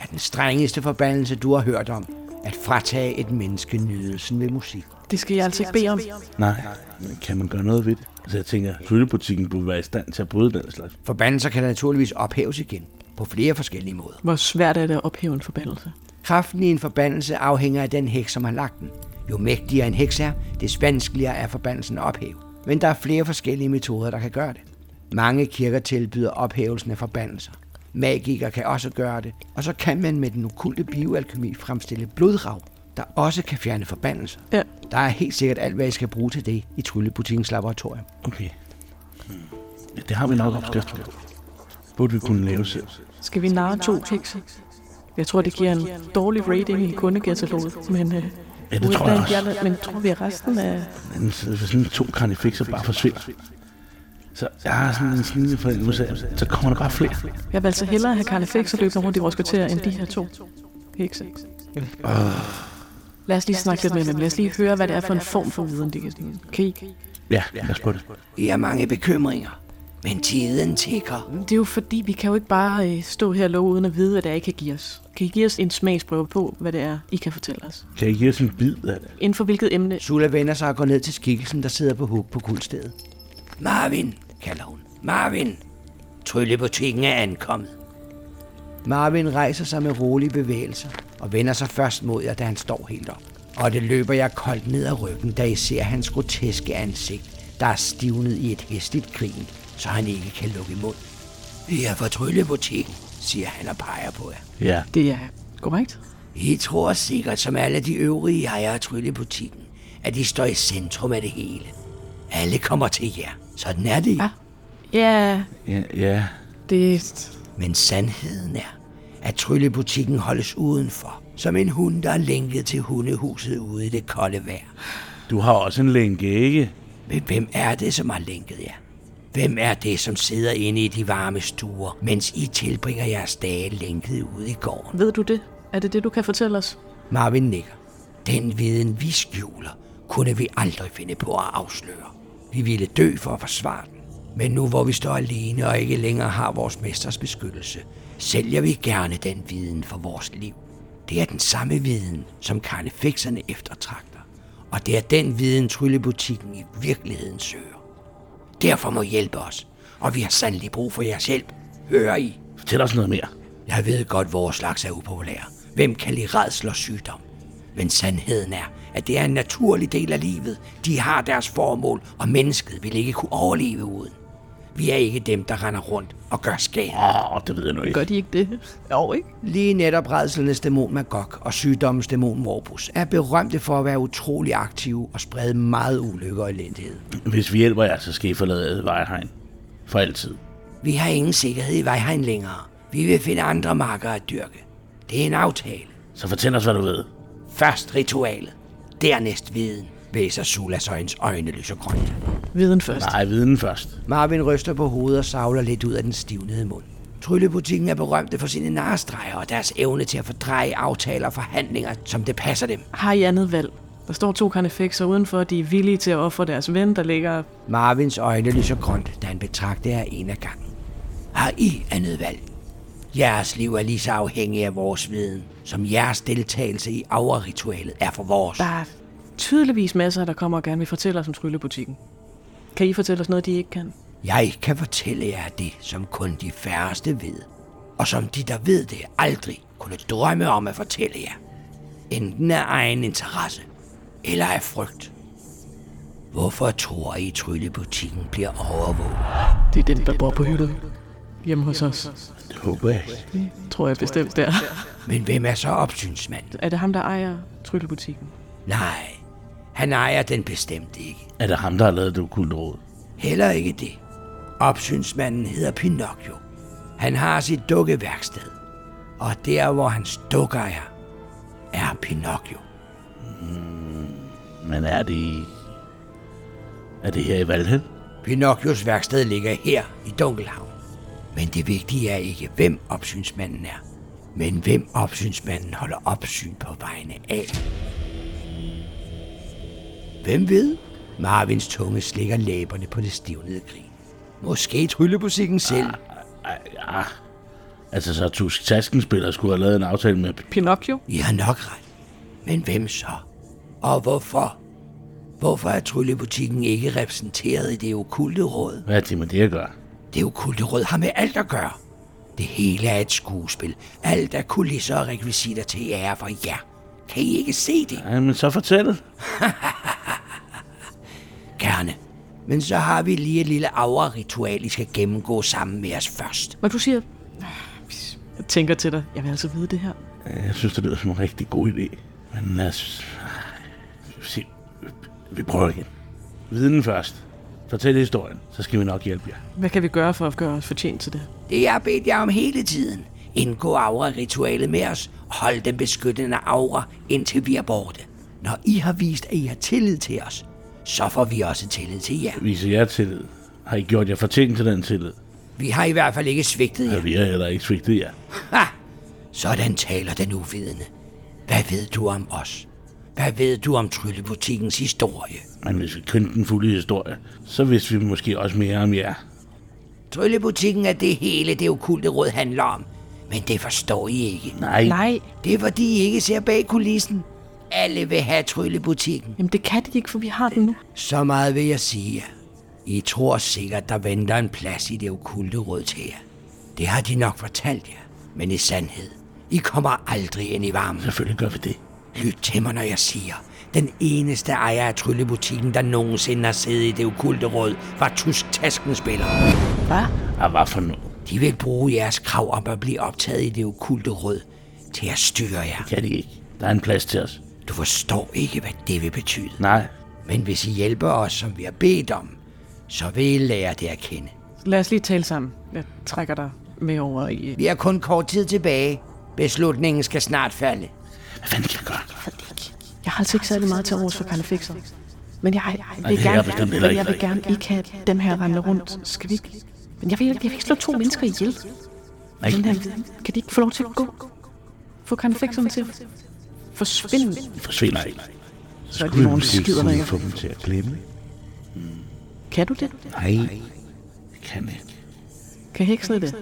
er den strengeste forbandelse, du har hørt om, at fratage et menneske nydelsen ved musik.
Det skal jeg altså ikke bede om.
Nej, men kan man gøre noget ved det? Så jeg tænker, at hyldebutikken burde være i stand til at bryde den slags.
Forbandelser kan naturligvis ophæves igen, på flere forskellige måder.
Hvor svært er det at ophæve en forbandelse?
Kraften i en forbandelse afhænger af den heks, som har lagt den. Jo mægtigere en heks er, des vanskeligere er forbandelsen at ophæve. Men der er flere forskellige metoder, der kan gøre det. Mange kirker tilbyder ophævelsen af forbandelser. Magikere kan også gøre det, og så kan man med den okulte bioalkemi fremstille blodrag, der også kan fjerne forbandelser.
Ja.
Der er helt sikkert alt, hvad I skal bruge til det i Tryllebutikkens laboratorium.
Okay. Hmm. Ja, det har vi nok opskrift på. Burde vi kunne lave selv.
Skal vi narre to hekse? Jeg tror, det giver en dårlig rating i kundekataloget, men, øh,
Ja, det tror jeg også.
jeg men tror vi, at resten af...
Men så- hvis sådan to karnifixer bare forsvinder, så jeg har sådan en snigende fornemmelse af, at så kommer der bare flere.
Jeg vil altså hellere have Karne Fix og løbe rundt i vores kvarter, end de her to hekse. Lad os lige snakke lidt med dem. Lad os lige høre, hvad det er for en form for viden, de kan sådan. Kan I?
Ja, lad os på det.
I har mange bekymringer, men tiden tigger.
Det er jo fordi, vi kan jo ikke bare øh, stå her og love, uden at vide, hvad det er, I kan give os. Kan I give os en smagsprøve på, hvad det er, I kan fortælle os?
Kan I give os en bid af det?
Inden for hvilket emne?
Sula vender sig og går ned til skikkelsen, der sidder på hug på guldstedet. Marvin, kalder hun. Marvin! Tryllebutikken er ankommet. Marvin rejser sig med rolige bevægelser og vender sig først mod jer, da han står helt op. Og det løber jeg koldt ned ad ryggen, da I ser hans groteske ansigt, der er stivnet i et hestigt grin, så han ikke kan lukke mund. Vi er fra Tryllebutikken, siger han og peger på jer.
Ja,
Det er korrekt.
I tror sikkert, som alle de øvrige ejere af Tryllebutikken, at I står i centrum af det hele. Alle kommer til jer. Sådan er det.
Ah. Ja,
ja, ja.
det er...
Men sandheden er, at Tryllebutikken holdes udenfor. Som en hund, der er lænket til hundehuset ude i det kolde vejr.
Du har også en lænke, ikke?
Men hvem er det, som har lænket jer? Hvem er det, som sidder inde i de varme stuer, mens I tilbringer jeres dage lænket ude i gården?
Ved du det? Er det det, du kan fortælle os?
Marvin nikker. Den viden, vi skjuler, kunne vi aldrig finde på at afsløre. Vi ville dø for at forsvare den. Men nu hvor vi står alene og ikke længere har vores mesters beskyttelse, sælger vi gerne den viden for vores liv. Det er den samme viden, som karnefikserne eftertragter. Og det er den viden, Tryllebutikken i virkeligheden søger. Derfor må I hjælpe os, og vi har sandelig brug for jeres hjælp. Hører I?
Fortæl os noget mere.
Jeg ved godt, vores slags er upopulære. Hvem kan lide redsel og sygdom? Men sandheden er, at det er en naturlig del af livet. De har deres formål, og mennesket vil ikke kunne overleve uden. Vi er ikke dem, der render rundt og gør skade.
Åh, oh, det ved jeg nu ikke.
Gør de ikke det? Jo, ikke?
Lige netop redselens dæmon Magog og sygdommens dæmon Morbus er berømte for at være utrolig aktive og sprede meget ulykke og elendighed.
Hvis vi hjælper jer, så skal I forlade Vejhegn. For altid.
Vi har ingen sikkerhed i Vejhegn længere. Vi vil finde andre marker at dyrke. Det er en aftale.
Så fortæl os, hvad du ved.
Først ritualet, dernæst viden, væser Sulas øjens øjne lyser grønt.
Viden først.
Nej, viden først.
Marvin ryster på hovedet og savler lidt ud af den stivnede mund. Tryllebutikken er berømte for sine narrestreger og deres evne til at fordreje aftaler og forhandlinger, som det passer dem.
Har I andet valg? Der står to karnefekser udenfor, de er villige til at ofre deres ven, der ligger...
Marvins øjne lyser grønt, da han betragter jer en af gangen. Har I andet valg? Jeres liv er lige så afhængig af vores viden, som jeres deltagelse i aura-ritualet er for vores.
Der er tydeligvis masser, der kommer og gerne vil fortælle os om tryllebutikken. Kan I fortælle os noget, de ikke kan?
Jeg kan fortælle jer det, som kun de færreste ved, og som de, der ved det, aldrig kunne drømme om at fortælle jer. Enten af egen interesse, eller af frygt. Hvorfor tror I, tryllebutikken bliver overvåget?
Det er den, der bor på hyttet. Hjemme hos os.
Det håber jeg ikke.
Tror jeg bestemt der.
Men hvem er så opsynsmand?
Er det ham, der ejer tryllebutikken?
Nej, han ejer den bestemt ikke.
Er det ham, der har lavet det okulte råd?
Heller ikke det. Opsynsmanden hedder Pinocchio. Han har sit dukkeværksted. Og der, hvor hans dukker er, er Pinocchio.
Men er det... i- Er det her i Valhall?
Pinocchios værksted ligger her i Dunkelhavn. Men det vigtige er ikke, hvem opsynsmanden er, men hvem opsynsmanden holder opsyn på vegne af. Hvem ved? Marvins tunge slikker læberne på det stivnede grin. Måske tryllebutikken selv.
Altså, så Tusk Taskenspiller skulle have lavet en aftale med...
Pinocchio?
I har nok ret. Men hvem så? Og hvorfor? Hvorfor er tryllebutikken ikke repræsenteret i det okulte råd?
Hvad er det med det at gøre?
Det okulte råd har med alt at gøre. Det hele er et skuespil. Alt er kulisser og rekvisitter til ære for jer. Kan I ikke se det?
Ej, men så fortæl.
Gerne. Men så har vi lige et lille aura-ritual, I skal gennemgå sammen med os først.
Hvad du siger... "Ah, Jeg tænker til dig, jeg vil altså vide det her.
Jeg synes, det lyder som en rigtig god idé. Men lad os... Se, vi prøver igen. Viden først. Fortæl historien, så skal vi nok hjælpe jer.
Hvad kan vi gøre for at gøre os fortjent til det?
Det jeg har bedt jer om hele tiden. Indgå aura-ritualet med os. og Hold den beskyttende aura, indtil vi er borte. Når I har vist, at I har tillid til os, så får vi også tillid til jer.
Vise jer tillid. Har I gjort jer fortjent til den tillid?
Vi har i hvert fald ikke svigtet jer.
Ja, vi har heller ikke svigtet jer.
Ha! Sådan taler den uvidende. Hvad ved du om os? Hvad ved du om tryllebutikkens historie?
Men hvis vi kendte den fulde historie, så vidste vi måske også mere om jer.
Tryllebutikken er det hele, det okulte råd handler om. Men det forstår I ikke.
Nej,
Nej,
Det er fordi, I ikke ser bag kulissen. Alle vil have tryllebutikken.
jamen det kan de ikke, for vi har den nu.
Så meget vil jeg sige jer. I tror sikkert, der venter en plads i det okulte råd til jer. Det har de nok fortalt jer. Men i sandhed, I kommer aldrig ind i varmen.
selvfølgelig gør vi det.
Lyt til mig, når jeg siger. Den eneste ejer af tryllebutikken, der nogensinde har siddet i det okulte råd, var Tusk Taskenspiller.
Hvad?
Ah, hvad for noget?
De vil bruge jeres krav om at blive optaget i det okulte råd til at styre jer.
Kan de ikke. Der er en plads til os.
Du forstår ikke, hvad det vil betyde.
Nej,
Men hvis I hjælper os, som vi har bedt om, så vil I lære det at kende.
Lad os lige tale sammen. Jeg trækker dig med over i... øh,
Vi har kun kort tid tilbage. Beslutningen skal snart falde.
hvad fanden skal vi gøre?
Jeg har altså ikke særlig meget til overs for Karl Fixer. Men jeg, jeg
det
vil
kan
gerne,
jeg bestemt heller
jeg, jeg
ikke.
vil gerne ikke have dem her rende rundt. Skal vi ikke? Men jeg vil, jeg vil ikke slå to mennesker ihjel.
Nej,
Den her viden. Kan de ikke få lov til at gå? Få Karl Fixeren til at forsvinde.
de forsvinder ikke.
Så er de nogen skider
kunne
der
vi
ikke.
få dem til at glemme.
Kan du det?
Nej, det kan jeg ikke.
Kan heksene det?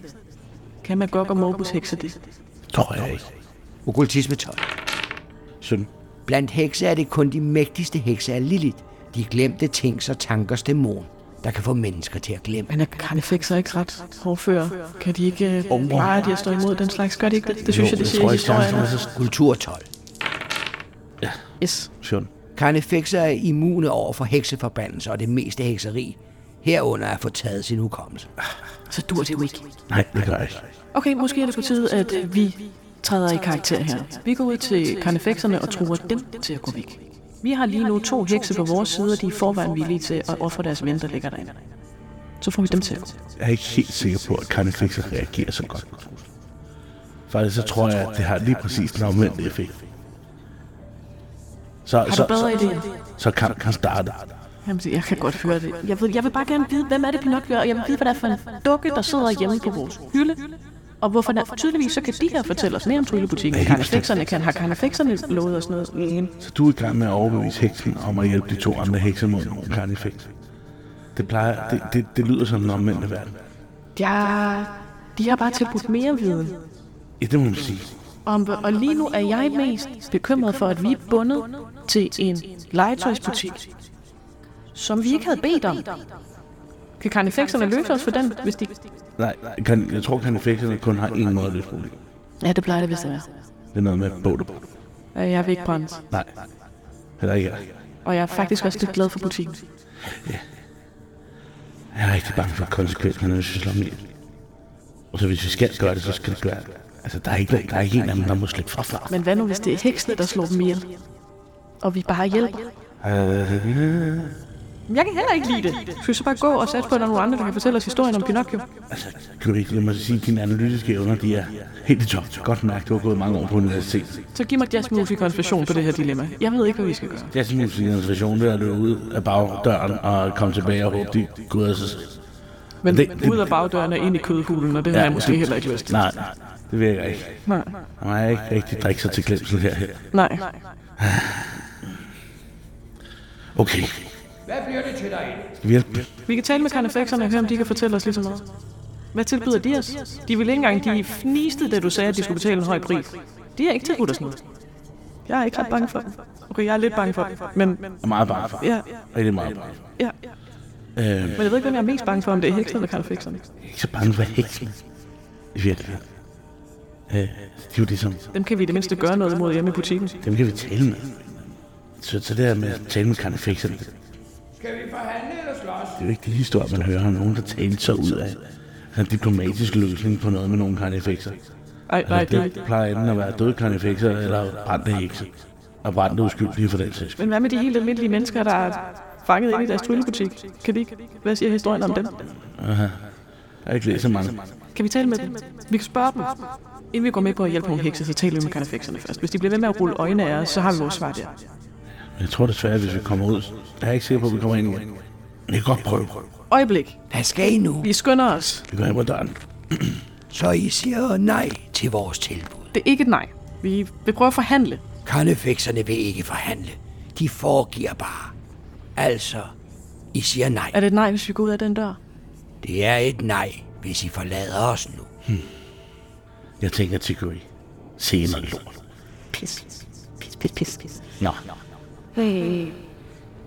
Kan man godt og Morbus hekse det?
Tror jeg ikke.
Okkultisme 12.
Søn,
Blandt hekse er det kun de mægtigste hekse af Lilith. De glemte ting og tankers dæmon, der kan få mennesker til at glemme.
Men er Karl Fixer ikke ret hårdfører? Kan de ikke øh, overveje, at jeg står imod den slags? Gør de ikke det? Det synes jeg, det siger i
tror ikke,
historien.
der er
Kultur 12.
Yes.
søn.
Karnefekser er immune over for hekseforbandelser og det meste hekseri. Herunder at få taget sin hukommelse.
Så dur det jo ikke.
Nej, det gør jeg ikke.
Okay, måske er det på tide, at øh, vi træder i karakter her. Vi går ud til karnefekserne og truer dem til at gå væk. Vi har lige nu to hekse på vores side, og de er i forvejen villige til at ofre deres ven, der ligger derinde. Så får vi dem til at gå.
Jeg er ikke helt sikker på, at Carnifexer reagerer så godt på trusler. Faktisk så tror jeg, at det har lige præcis den omvendte effekt. Så,
Har
så,
du bedre
så,
idéer?
så kan, kan starte.
Jamen, jeg kan godt høre det. Jeg vil, jeg vil bare gerne vide, hvem er det Pinocchio, er, og jeg vil vide, hvad det er for en dukke, der sidder hjemme på vores hylde. Og hvorfor der, tydeligvis så kan de her fortælle os mere om tryllebutikken.
Ja, helt bestemt.
Karnefekserne kan, har karnefekserne lovet os noget? Mm.
Så du er i gang med at overbevise heksen om at hjælpe de to andre hekser mod nogle Carnifexer. Det plejer, det, det, det lyder som den omvendte verden.
Jeg De har bare tilbudt mere viden.
Ja, det må man sige.
Om, og lige nu er jeg mest bekymret for, at vi er bundet til en legetøjsbutik, som vi ikke havde bedt om. Kan karnefekserne løse os for den, hvis de...
Nej, kan, jeg tror, kan kun har én måde at løse problemet.
Ja, det plejer det vist at være.
Det er noget med båd og båd.
Øh, Jeg vil ikke brænde,
Nej, heller ikke jeg.
og jeg er faktisk også lidt glad for butikken.
Jeg er rigtig bange for konsekvenserne, hvis vi slår dem ihjel. Og så hvis vi skal gøre det, så skal det gøre det. Altså, der er ikke, der er ikke en af dem, der må slippe forfra.
Men hvad nu, hvis det er heksene, der slår dem ihjel? Og vi bare hjælper.
Øh,
Jeg kan heller ikke lide det. Skal vi så bare gå og satse på, at der er nogle andre, der kan fortælle os historien om Pinocchio?
altså, kan du ikke lade mig sige, at dine analytiske evner, de er helt i top. Godt mærke, du har gået mange år på universitetet.
Så giv mig jazzmusikerens version på det her dilemma. Jeg ved ikke, hvad vi skal gøre.
Det er sådan en situation, der er løbet ud af bagdøren og komme tilbage og håbe, de går ud af sig selv.
Men
Det- det-
ud af bagdøren og ind i kødhulen, og det har jeg måske
det-
heller ikke lyst til.
Nej, nej, det virker ikke.
Nej.
Man er ikke rigtig drikke sig til glemsel her. her.
Nej.
Okay,
Hvad bliver det til dig?
skal vi hjælpe?
Vi kan tale med karnefekserne og høre, om de kan fortælle os lige så meget. Hvad tilbyder de os? De ville ikke engang, de fniste, da du sagde, at de skulle betale en høj pris. De er ikke tilbudt os noget. Jeg er ikke ret bange for dem. Okay, jeg er lidt bange for dem, men
Jeg er meget bange for.
ja,
Rigtig meget bange for.
ja.
Øh,
Men jeg ved ikke, hvem jeg er mest bange for, om det er heksene eller karnefekserne.
Jeg er ikke så bange for heksen. I virkeligheden. Øh, det er jo det, som...
Dem kan vi i det mindste gøre noget imod hjemme i butikken.
Dem kan vi tale med. Så, så det her med at tale med karnefekserne, det
Skal vi forhandle eller slås?
er jo ikke det historie, man hører. Nogen, der talte sig ud af en diplomatisk løsning på noget med nogle karnefekser.
Ej, nej, det er
Altså,
ikke.
det plejer enten at være døde karnefekser eller brændte hekse. Og brændte uskyldige for den sags skyld.
Men hvad med de helt almindelige mennesker, der er fanget ind i deres tryllebutik? Kan de ikke? Hvad siger historien om dem?
Jeg har ikke læst så mange.
Kan vi tale med dem? Vi kan spørge dem. Inden vi går med på at hjælpe nogle hekse, så taler vi med karnefekserne først. Hvis de bliver ved med at rulle øjnene af os, så har vi vores svar der.
Men jeg tror desværre, at hvis vi kommer ud... Jeg er ikke sikker på, at vi kommer ind igen. Men Jeg kan godt prøve.
Øjeblik.
Hvad skal I nu?
Vi skynder os.
Vi går ind på døren.
Så I siger nej til vores tilbud.
Det er ikke et nej. Vi vil prøve at forhandle.
Karnefekserne vil ikke forhandle. De foregiver bare. Altså, I siger nej.
Er det et nej, hvis vi går ud af den dør?
Det er et nej, hvis I forlader os nu.
Jeg tænker til Gry. Se noget lort.
Pis, pis, pis, pis, pis.
Nå,
Øh,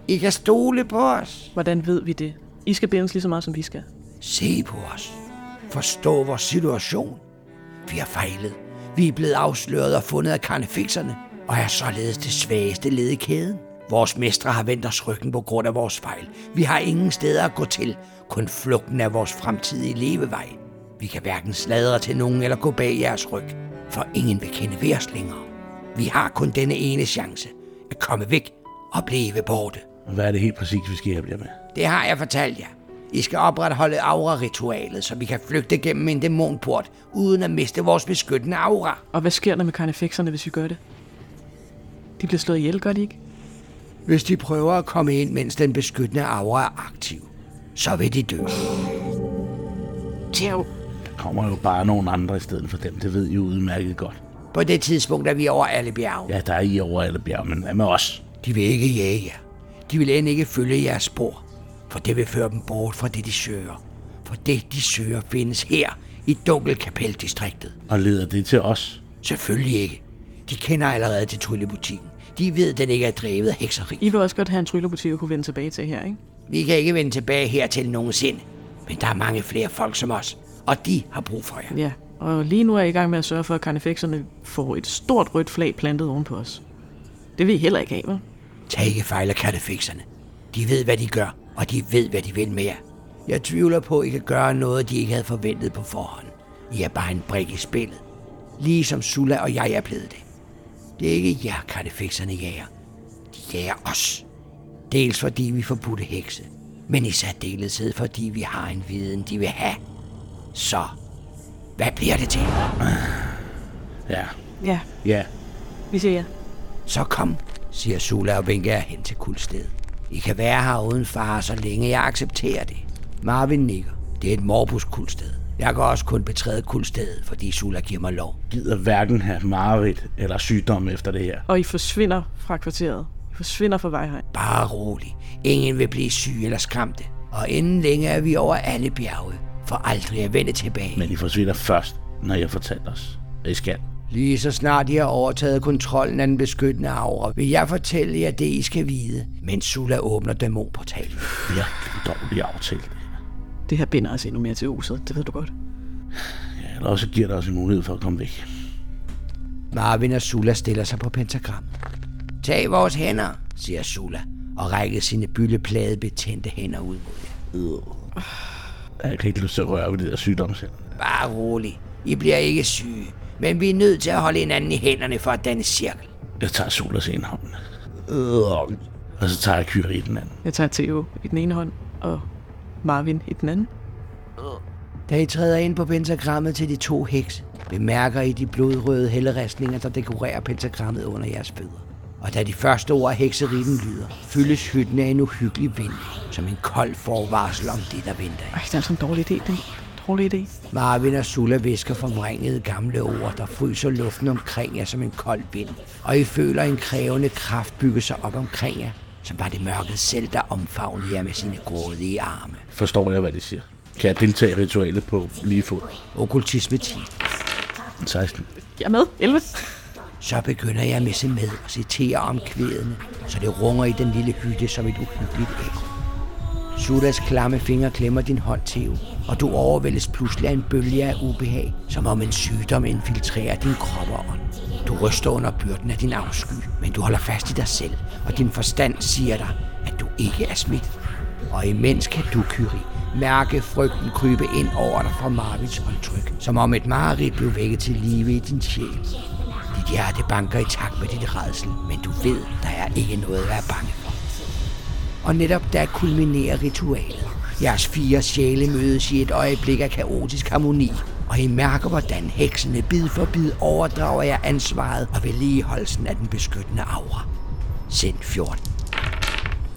I kan stole på os.
Hvordan ved vi det? I skal bindes lige så meget, som vi skal.
Se på os. Forstå vores situation. Vi har fejlet. Vi er blevet afsløret og fundet af karnefikserne, og er således det svageste led i kæden. Vores mestre har vendt os ryggen på grund af vores fejl. Vi har ingen steder at gå til, kun flugten af vores fremtidige levevej. Vi kan hverken sladre til nogen eller gå bag jeres ryg, for ingen vil kende ved os længere. Vi har kun denne ene chance, at komme væk og blive borte.
hvad er det helt præcis, vi skal hjælpe jer med?
Det har jeg fortalt jer. I skal opretholde aura-ritualet, så vi kan flygte gennem en dæmonport, uden at miste vores beskyttende aura.
Og hvad sker der med karnefekserne, hvis vi gør det? De bliver slået ihjel, gør de ikke?
Hvis de prøver at komme ind, mens den beskyttende aura er aktiv, så vil de dø.
tjav.
Der kommer jo bare nogen andre i stedet for dem. Det ved I jo udmærket godt.
På det tidspunkt er vi over alle bjerge.
Ja, der er I over alle bjerg, men hvad med os?
De vil ikke jage jer. De vil end ikke følge jeres spor, for det vil føre dem bort fra det, de søger. For det, de søger, findes her i Dunkelkapeldistriktet.
Og leder det til os?
Selvfølgelig ikke. De kender allerede til tryllebutikken. De ved, den ikke er drevet af hekseri.
I vil også godt have en tryllerbutik at kunne vende tilbage til her, ikke?
Vi kan ikke vende tilbage hertil nogensinde, men der er mange flere folk som os, og de har brug for jer.
Ja, og lige nu er jeg i gang med at sørge for, at karnefekserne får et stort rødt flag plantet ovenpå os. Det vil I heller ikke have, vel?
Tag ikke fejl af kattefikserne. De ved, hvad de gør, og de ved, hvad de vil med jer. Jeg tvivler på, at I kan gøre noget, de ikke havde forventet på forhånd. I er bare en brik i spillet. Ligesom Sula og jeg er blevet det. Det er ikke jer, kattefikserne jager. De jager os. Dels fordi vi er forbudte hekse, men i særdeleshed fordi vi har en viden, de vil have. Så, hvad bliver det til?
Ja.
Ja,
Ja.
vi siger ja.
Så kom, siger Sula og vinker jer hen til kuldstedet. I kan være her uden far, så længe jeg accepterer det. Marvin nikker. Det er et morbus kuldsted. Jeg kan også kun betræde kuldstedet, fordi Sula giver mig lov.
Gider hverken have mareridt eller sygdom efter det her.
Og I forsvinder fra kvarteret. I forsvinder fra vejhegn.
Bare rolig. Ingen vil blive syg eller skræmte. Og inden længe er vi over alle bjerge, for aldrig at vende tilbage.
Men I forsvinder først, når jeg fortæller os, at I skal.
Lige så snart I har overtaget kontrollen af den beskyttende aura, vil jeg fortælle jer det, I skal vide, mens Sula åbner dæmonportalen.
Jeg kan dårlig aftale det.
Det her binder os endnu mere til huset, det ved du godt.
Ja, Eller også giver det os en mulighed for at komme væk.
Marvin og Sula stiller sig på pentagram. Tag vores hænder, siger Sula, og rækker sine bylleplade betændte hænder ud mod jer.
Jeg kan ikke lyst til at røre ved det der sygdomscenter.
Bare rolig. I bliver ikke syge, men vi er nødt til at holde hinanden i hænderne for at danne cirkel.
Jeg tager Solas ene hånd. Øh, Og så tager jeg Kyrie i den anden.
Jeg tager Theo i den ene hånd, og Marvin i den anden.
Da I træder ind på pentagrammet til de to hekse, bemærker I de blodrøde helleristninger, der dekorerer pentagrammet under jeres fødder. Og da de første ord af hekseritten lyder, fyldes hytten af en uhyggelig vind, som en kold forvarsel om det, der venter jer.
Ej, det er altså en dårlig idé, det er en dårlig idé.
Marvin og Sulla visker formringede gamle ord, der fryser luften omkring jer som en kold vind. Og I føler en krævende kraft bygge sig op omkring jer, som var det mørket selv, der omfavnede jer med sine grådige arme.
Forstår jeg, hvad de siger? Kan jeg deltage i ritualet på lige fod?
Okkultisme 10.
16.
Jeg er med, 11.
Så begynder jeg at messe med og citere om kvædene, så det runger i den lille hytte som et uhyggeligt ekko. Sudas klamme fingre klemmer din hånd, Theo, og du overvældes pludselig af en bølge af ubehag, som om en sygdom infiltrerer din krop og ånd. Du ryster under byrden af din afsky, men du holder fast i dig selv, og din forstand siger dig, at du ikke er smittet. Og imens kan du, Kyrie, mærke frygten krybe ind over dig fra Marvins håndtryk, som om et mareridt blev vækket til live i din sjæl. Dit hjerte banker i takt med dit redsel, men du ved, der er ikke noget at være bange for. Og netop der kulminerer ritualet. Jeres fire sjæle mødes i et øjeblik af kaotisk harmoni, og I mærker, hvordan heksene bid for bid overdrager jer ansvaret og vedligeholdelsen af den beskyttende aura. Sind 14.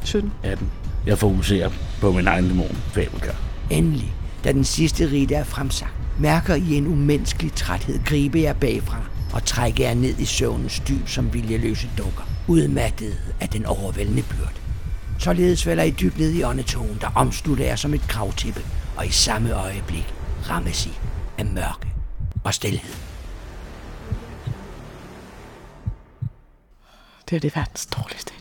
17.
18. Jeg fokuserer på min egen dæmon, Fabelkær.
Endelig, da den sidste rite er fremsagt, mærker I en umenneskelig træthed gribe jer bagfra og trække jer ned i søvnens dyb som viljeløse dukker, udmattet af den overvældende byrde. Således falder I dybt ned i åndetogen, der omslutter jer som et kravtippe, og i samme øjeblik rammes I af mørke og stilhed.
Det er det verdens dårligste idé.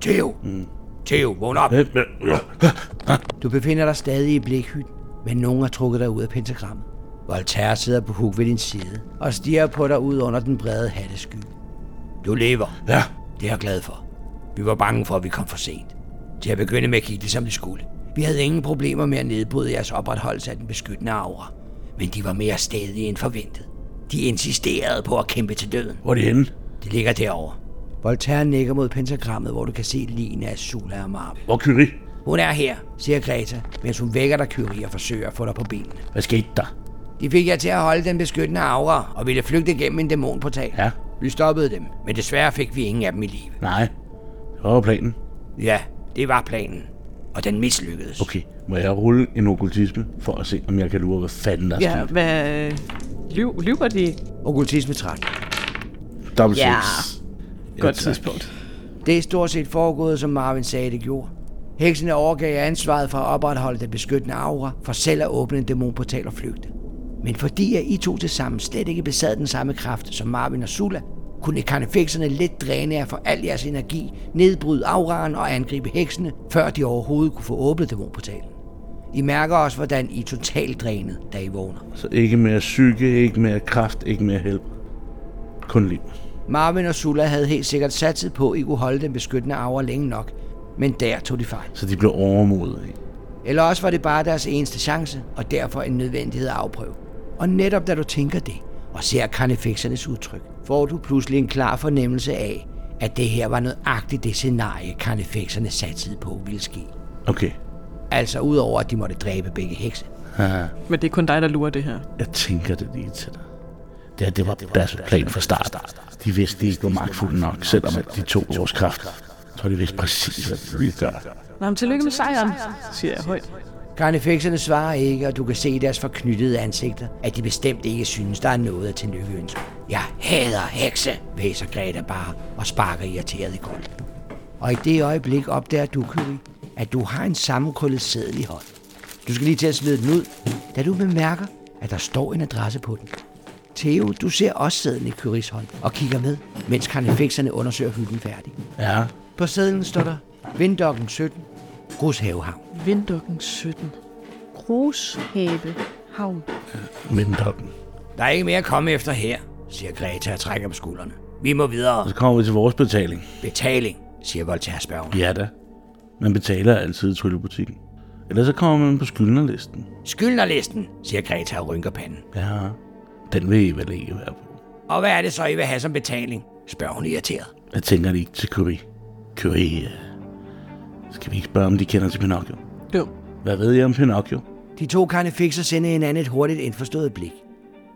Theo! Mm. Theo, vågn op!
Øh, øh, øh.
Du befinder dig stadig i blikhytten, men nogen har trukket dig ud af pentagrammet. Voltaire sidder på huk ved din side og stiger på dig ud under den brede hattesky. Du lever.
Ja,
Det er jeg glad for. Vi var bange for, at vi kom for sent. Til at begynde med gik det, som det skulle. Vi havde ingen problemer med at nedbryde jeres opretholdelse af den beskyttende aura. Men de var mere stadige end forventet. De insisterede på at kæmpe til døden.
hvor er de henne?
Det ligger derovre. Voltaire nikker mod pentagrammet, hvor du kan se ligene af Sula og Marvin.
Hvor er Kyrie?
Hun er her, siger Greta, mens hun vækker dig, Kyrie, og forsøger at få dig på benene.
Hvad skete der?
De fik jer til at holde den beskyttende aura og ville flygte gennem en dæmonportal.
Ja.
Vi stoppede dem, men desværre fik vi ingen af dem i live.
Nej, det var jo planen.
Ja, det var planen. Og den mislykkedes.
Okay, må jeg rulle en okkultisme for at se, om jeg kan lure, hvad fanden der er
Ja,
sket?
hvad... Lyv, lyver de?
Okkultisme 13.
Dobbelt
Ja.
seks. Ja,
Godt
tak.
tidspunkt.
Det er stort set foregået, som Marvin sagde, det gjorde. Heksene overgav jer ansvaret for at opretholde den beskyttende aura, for selv at åbne en dæmonportal og flygte. Men fordi at I to til sammen slet ikke besad den samme kraft som Marvin og Sula, kunne karnefikserne let dræne jer for al jeres energi, nedbryde auraen og angribe heksene, før de overhovedet kunne få åbnet dæmonportalen. I mærker også, hvordan I er totalt drænet, da I vågner.
Så ikke mere psyke, ikke mere kraft, ikke mere help. Kun liv.
Marvin og Sula havde helt sikkert satset på, at I kunne holde den beskyttende aura længe nok, men der tog de fejl.
Så de blev overmodige.
Eller også var det bare deres eneste chance, og derfor en nødvendighed at afprøve. Og netop da du tænker det, og ser karnefixernes udtryk, får du pludselig en klar fornemmelse af, at det her var nøjagtigt det scenarie, karnefixerne satsede på ville ske.
Okay,
Altså udover, at de måtte dræbe begge hekse.
Men det er kun dig, der lurer det her.
jeg tænker det lige til dig. Det, her, det var deres plan fra start. De vidste ikke, hvor magtfulde nok, selvom at de tog vores kraft. Så de vidste præcis, hvad de ville gøre.
Nå, men tillykke med sejren, siger jeg højt.
Karnefekserne svarer ikke, og du kan se i deres forknyttede ansigter, at de bestemt ikke synes, der er noget at tillykkønske. Jeg hader hekse, væser Greta bare og sparker irriteret i gulvet. Og i det øjeblik opdager du, Kyrie, at du har en sammenkrøllet sædel i hånden. Du skal lige til at smide den ud, da du bemærker, at der står en adresse på den. Theo, du ser også sædlen i Kyries hånd og kigger med, mens karnefekserne undersøger hylden færdig.
Ja,
På sædlen står der Vindokken 17, Grushavehavn.
Vinddukken 17.
Grushæbe. Havn.
vent op.
Der er ikke mere at komme efter her, siger Greta og trækker på skuldrene. Vi må videre.
Så kommer vi til vores betaling.
Betaling, siger Voltaire spørger.
Ja da. Man betaler altid i tryllebutikken. Ellers så kommer man på skyldnerlisten.
Skyldnerlisten, siger Greta og rynker panden.
Ja, den vil I vel ikke være på.
Og hvad er det så, I vil have som betaling? spørger hun irriteret.
Jeg tænker det ikke til Curie. Curie, øh, skal vi ikke spørge, om de kender til Pinocchio?
Jo.
Hvad ved I om Pinocchio?
De to karnefikser sender hinanden et hurtigt indforstået blik.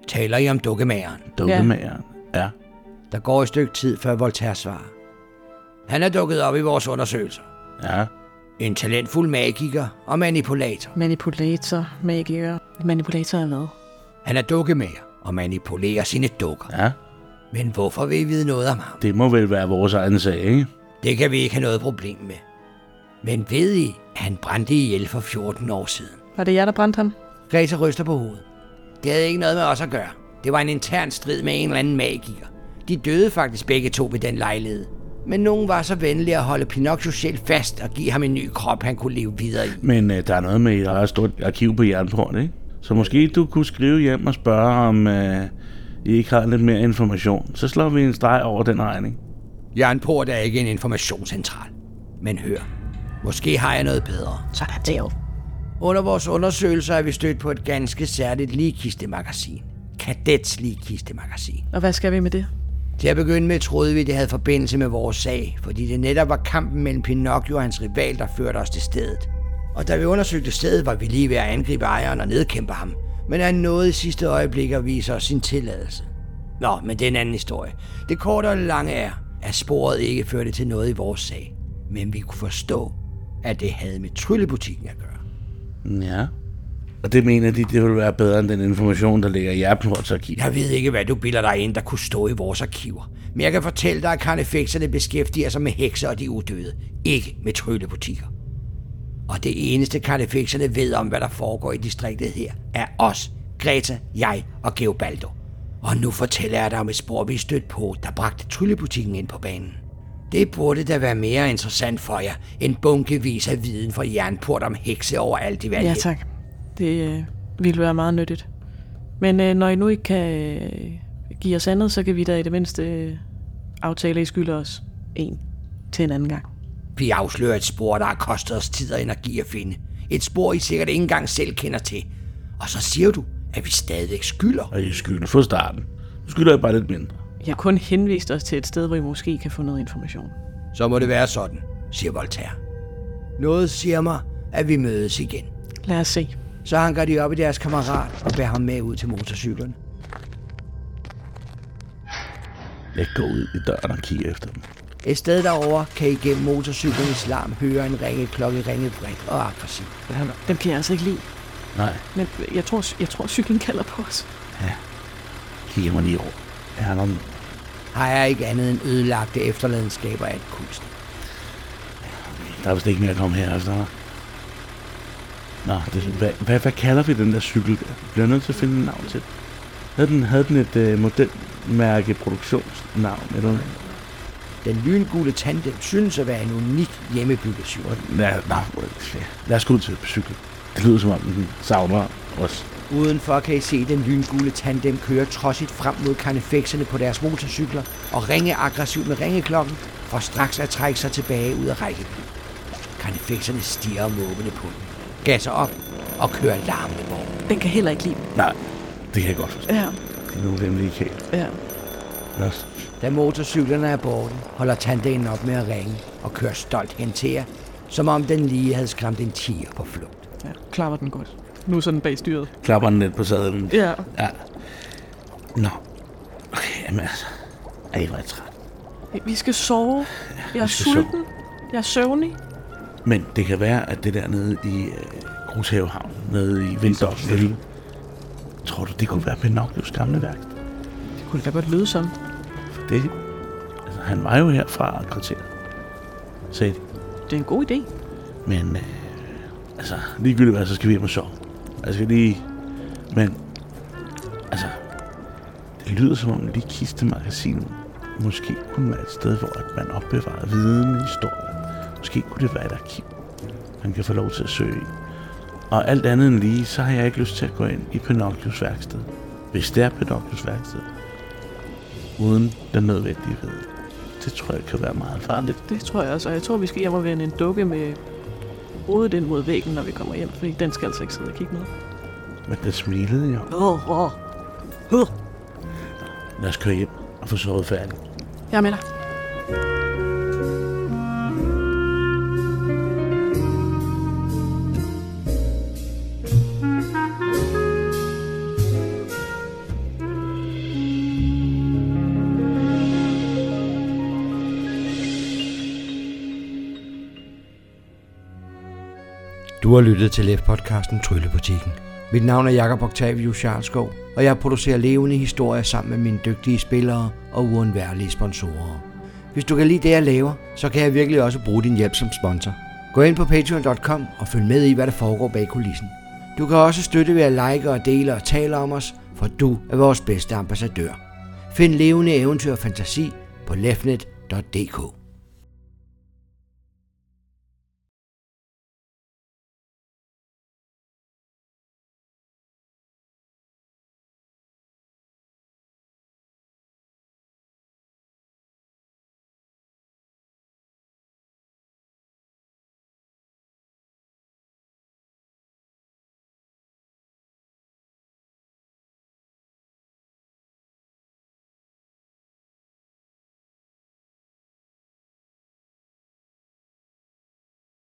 Taler I om dukkemageren?
Dukkemageren. Ja. ja.
Der går et stykke tid, før Voltaire svarer. Han er dukket op i vores undersøgelser.
Ja.
En talentfuld magiker og manipulator.
Manipulator, magiker. Manipulator er hvad?
Han er dukkemager og manipulerer sine dukker.
Ja.
Men hvorfor vil I vide noget om ham?
Det må vel være vores egen sag, ikke?
Det kan vi ikke have noget problem med. Men ved I, at han brændte ihjel for 14 år siden?
Var det jer, der brændte ham?
Greta ryster på hovedet. Det havde ikke noget med os at gøre. Det var en intern strid med en eller anden magiker. De døde faktisk begge to ved den lejlighed. Men nogen var så venlige at holde Pinocchio selv fast og give ham en ny krop, han kunne leve videre i.
Men øh, der er noget med, at der er et stort arkiv på Jernport, ikke? Så måske du kunne skrive hjem og spørge, om øh, I ikke har lidt mere information. Så slår vi en streg over den regning.
Jernport er ikke en informationscentral. Men hør, måske har jeg noget bedre.
Så er det jo.
Under vores undersøgelser er vi stødt på et ganske særligt ligkistemagasin. Kadets ligkistemagasin.
Og hvad skal vi med det?
Til at begynde med troede vi, det havde forbindelse med vores sag, fordi det netop var kampen mellem Pinocchio og hans rival, der førte os til stedet. Og da vi undersøgte stedet, var vi lige ved at angribe ejeren og nedkæmpe ham, men han nåede i sidste øjeblik at vise os sin tilladelse. Nå, men det er en anden historie. Det korte og lange er, at sporet ikke førte til noget i vores sag, men vi kunne forstå, at det havde med tryllebutikken at gøre.
Ja. Og det mener de, det vil være bedre end den information, der ligger i Jernports arkiv.
Jeg ved ikke, hvad du bilder dig ind, der kunne stå i vores arkiver. Men jeg kan fortælle dig, at karnefekserne beskæftiger sig med hekser og de udøde. Ikke med tryllebutikker. Og det eneste karnefekserne ved om, hvad der foregår i distriktet her, er os, Greta, jeg og Geobaldo. Og nu fortæller jeg dig om et spor, vi stødte på, der bragte tryllebutikken ind på banen. Det burde da være mere interessant for jer, end bunkevis af viden fra jernport om hekse overalt i verden.
Ja, tak. Det øh, ville være meget nyttigt. Men øh, når I nu ikke kan øh, give os andet, så kan vi da i det mindste øh, aftale, at I skylder os en til en anden gang.
Vi afslører et spor, der har kostet os tid og energi at finde. Et spor, I sikkert ikke engang selv kender til. Og så siger du, at vi stadigvæk skylder.
Og I skylder for starten. Nu skylder jeg bare lidt mindre.
Jeg har kun henvist os til et sted, hvor I måske kan få noget information.
Så må det være sådan, siger Voltaire. Noget siger mig, at vi mødes igen.
Lad os se.
Så hanker de op i deres kammerat og bærer ham med ud til motorcyklerne.
Jeg går ud i døren og kigger efter dem.
Et sted derovre kan I gennem motorcyklernes larm høre en ringeklokke ringe bredt og aggressivt.
Dem kan jeg altså ikke lide.
Nej,
Men øh, jeg tror, jeg tror cyklen kalder på os.
kigger mig lige over. Er der nogen?
Har jeg ikke andet end ødelagte efterladenskaber af et kunst.
Der er vist ikke mere at komme her efter. hva'? Nå, det, hvad, hvad, hvad, kalder vi den der cykel? der? Vi bliver nødt til at finde et navn til den. havde den. Havde den et øh, modelmærke produktionsnavn eller noget?
Den lyngule tandem synes at være en unik hjemmebygget cykel.
Lad, nej, lad os gå ud til cyklen. Det lyder som om, den savner os.
Udenfor kan I se den lyngule tandem køre trodsigt frem mod karnefekserne på deres motorcykler og ringe aggressivt med ringeklokken for straks at trække sig tilbage ud af rækkevidde. Karnefekserne stiger måbende på den, gasser op og kører larmende bort.
Den kan heller ikke lide. mig.
Nej, det kan jeg godt forstå.
Ja,
Det er nogle rimelig kæle.
ja.
Lad os
Da motorcyklerne er borte, holder tandemen op med at ringe og kører stolt hen til jer, som om den lige havde skræmt en tiger på flugt.
ja. Klarer den godt. Nu er sådan bag styret.
klapper den lidt på sadlen.
Ja.
Ja. Nå. Okay, jamen altså. Ej, hvor er jeg træt.
Vi skal sove. Jeg er
skal sove.
sulten. Jeg er søvnig.
Men det kan være, at det dernede i øh, Grushavehavn nede i Vindorfsvælde. Tror du, det kunne være Pinocchios gamle værk?
Det kunne det da godt lyde som.
Det, altså, han var jo herfra kvarteret, sagde de.
Det er en god idé.
Men øh, altså, ligegyldigt hvad, så skal vi hjem og sove. Altså, Jeg skal lige... Men altså, det lyder som om lige kistemagasinet måske kunne være et sted, hvor at man opbevarer viden i historien. Måske kunne det være et arkiv, man kan få lov til at søge i. Og alt andet end lige, så har jeg ikke lyst til at gå ind i Pinocchios værksted. Hvis det er Pinocchios værksted. Uden den nødvendige viden. Det tror jeg kan være meget farligt.
Det tror jeg også, og jeg tror, vi skal hjem og vende en dukke med hovedet ind mod væggen, når vi kommer hjem, fordi den skal altså ikke sidde og kigge med.
Men det smilede jo.
Åh, åh.
Lad os køre hjem og få sovet færdigt.
Jeg er med dig.
Du har lyttet til LEF-podcasten Tryllebutikken. Mit navn er Jakob Octavius Charlskov, og jeg producerer levende historier sammen med mine dygtige spillere og uundværlige sponsorer. Hvis du kan lide det, jeg laver, så kan jeg virkelig også bruge din hjælp som sponsor. Gå ind på patreon.com og følg med i, hvad der foregår bag kulissen. Du kan også støtte ved at like og dele og tale om os, for du er vores bedste ambassadør. Find levende eventyr og fantasi på lefnet.dk.